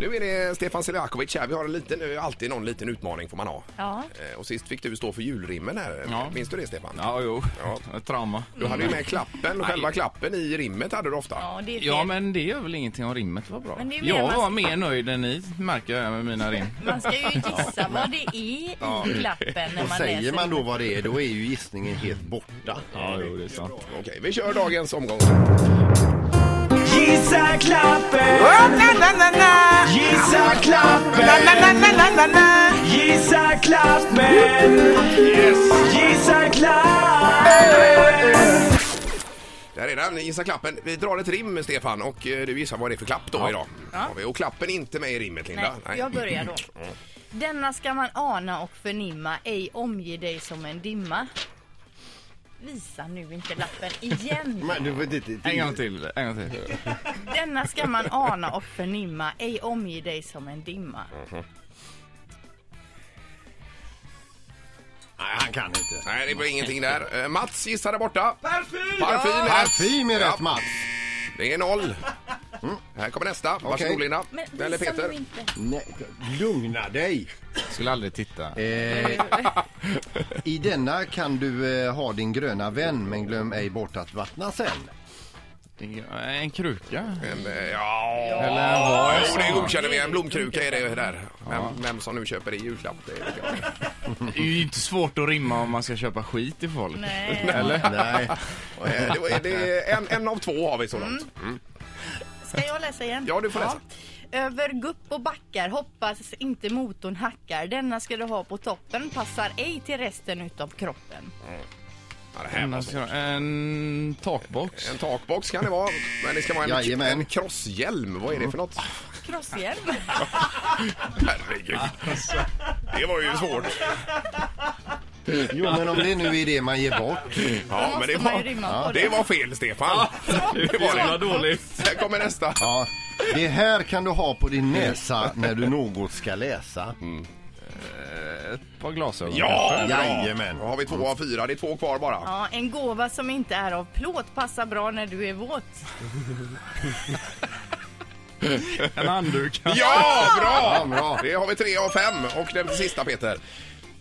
Nu är det Stefan Seliakovic här. Vi har en liten, eh, alltid någon liten utmaning får man ha. Ja. Eh, Och sist fick du stå för julrimmen här. Ja. Minns du det Stefan? Ja, jo. Ja. Ett trauma. Du hade ju med klappen, själva klappen i rimmet hade du ofta. Ja, det är fel. Ja, men det gör väl ingenting om rimmet var bra. Men det är väl jag man- var mer nöjd än ni, märker jag med mina rim. Man ska ju gissa vad det är i klappen när Och man säger läser. man då vad det är, då är ju gissningen helt borta. Ja, jo, det är sant. Okej, vi kör dagens omgång. Gissa klappen! Gissa klappen! Gissa klappen! Gissa klappen! Där är den, gissa klappen. Vi drar ett rim Stefan och eh, du gissar vad det är för klapp då idag. Har vi- Och klappen är inte med i rimmet Nej, Linda. jag börjar då. Denna ska man ana och förnimma, ej omge dig som en dimma. Visa nu inte lappen igen. Men du får inte- inte... En gång till, en gång till. Denna ska man ana och förnimma, ej omge dig som en dimma. Nej, han kan inte. Nej, det blir ingenting där. Eh, Mats gissar där borta. Parfyl! Parfyl, är rätt. Parfym är rätt Mats. Det är noll. Mm, Här kommer nästa. Varsågod Okej. Linda. Men visa Eller nu Peter. inte. Nej, lugna dig. Skulle aldrig titta. Eh, I denna kan du eh, ha din gröna vän, men glöm ej bort att vattna sen. En kruka? En, eh, ja, Eller vad? Jo, det godkänner vi. En blomkruka är det där. Vem, vem som nu köper det i julklapp, det vet jag. Det är ju inte svårt att rimma om man ska köpa skit till folk. Nej. Eller? Nej. Eh, det- det är en, en av två har vi så långt. Mm. Ska jag läsa igen? Ja, du får läsa. Över gupp och backar, hoppas inte motorn hackar. Denna ska du ha på toppen, passar ej till resten utav kroppen. Ja, det här var Annars så. gör jag- En takbox? En takbox kan det vara, men det ska vara en, Jajamän. en crosshjälm. Vad är det för något? Crosshjälm. Herregud. Det var ju svårt. Jo, men om det nu är det man ger bort. Ja, men det måste man var, ju rimma på det var fel, Stefan. Det var det. dåligt. Här kommer nästa. Ja, det här kan du ha på din näsa när du något ska läsa. Ett par glasögon. Ja, bra! Jajamän. Då har vi två av fyra. Det är två kvar bara. Ja, en gåva som inte är av plåt passar bra när du är våt. En handduk. Ja, Ja, bra! bra. Det har vi tre av fem. Och den sista, Peter.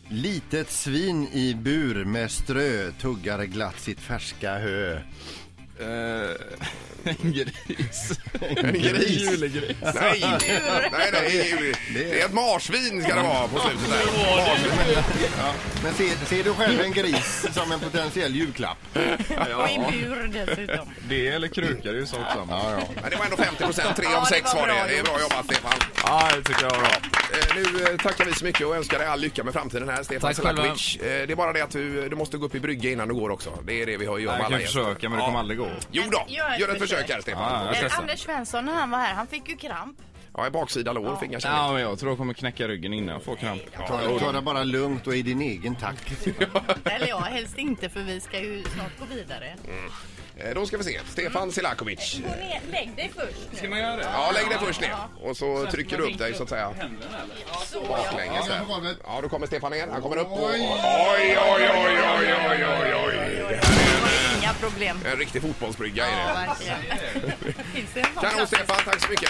Litet svin i bur med strö tuggar glatt sitt färska hö. Eh, En gris. En gris. Julegris. Nej, nej, nej. Det är ett marsvin ska det vara på slutet där. Men ser, ser du själv en gris som en potentiell julklapp? Och i bur dessutom. Det eller kruka, det är ju sak samma. Men det var ändå 50 procent. Tre Ja, av det sex var var det. bra Det är bra jobbat, Stefan. Ja, det tycker jag var bra. Eh, Nu eh, tackar vi så mycket och önskar dig all lycka med framtiden här, Stefan Tack själva. Selakovic. Eh, Det är bara det att du, du måste gå upp i brygga innan du går också. Det är det vi har att göra Jag kan gäster. försöka, men det kommer aldrig gå. Jo då, Gör ett gör ett försök försök här, Ja, Stefan. jag Men testar. Anders Svensson när han var här, han fick ju kramp. Ja, i baksida lår fick jag känna. Ja, men jag tror jag kommer knäcka ryggen innan jag får kramp. Ta, ta det bara lugnt och i din egen takt. Eller ja, helst inte för vi ska ju snart gå vidare. Eh, Då ska vi se. Stefan Selakovic. Gå ner, lägg dig först. Ska man göra det? Ja, lägg dig först ner och så trycker du upp dig så att säga baklänges Ja, där. på golvet. Ja, då kommer Stefan ner. Han kommer upp och... Oj, Oj. oj, oj, oj, oj, oj, oj. Det här Inga problem. är En riktig fotbollsbrygga är det. Verkligen. Finns det en sån Kanon klapp? Stefan, tack så mycket.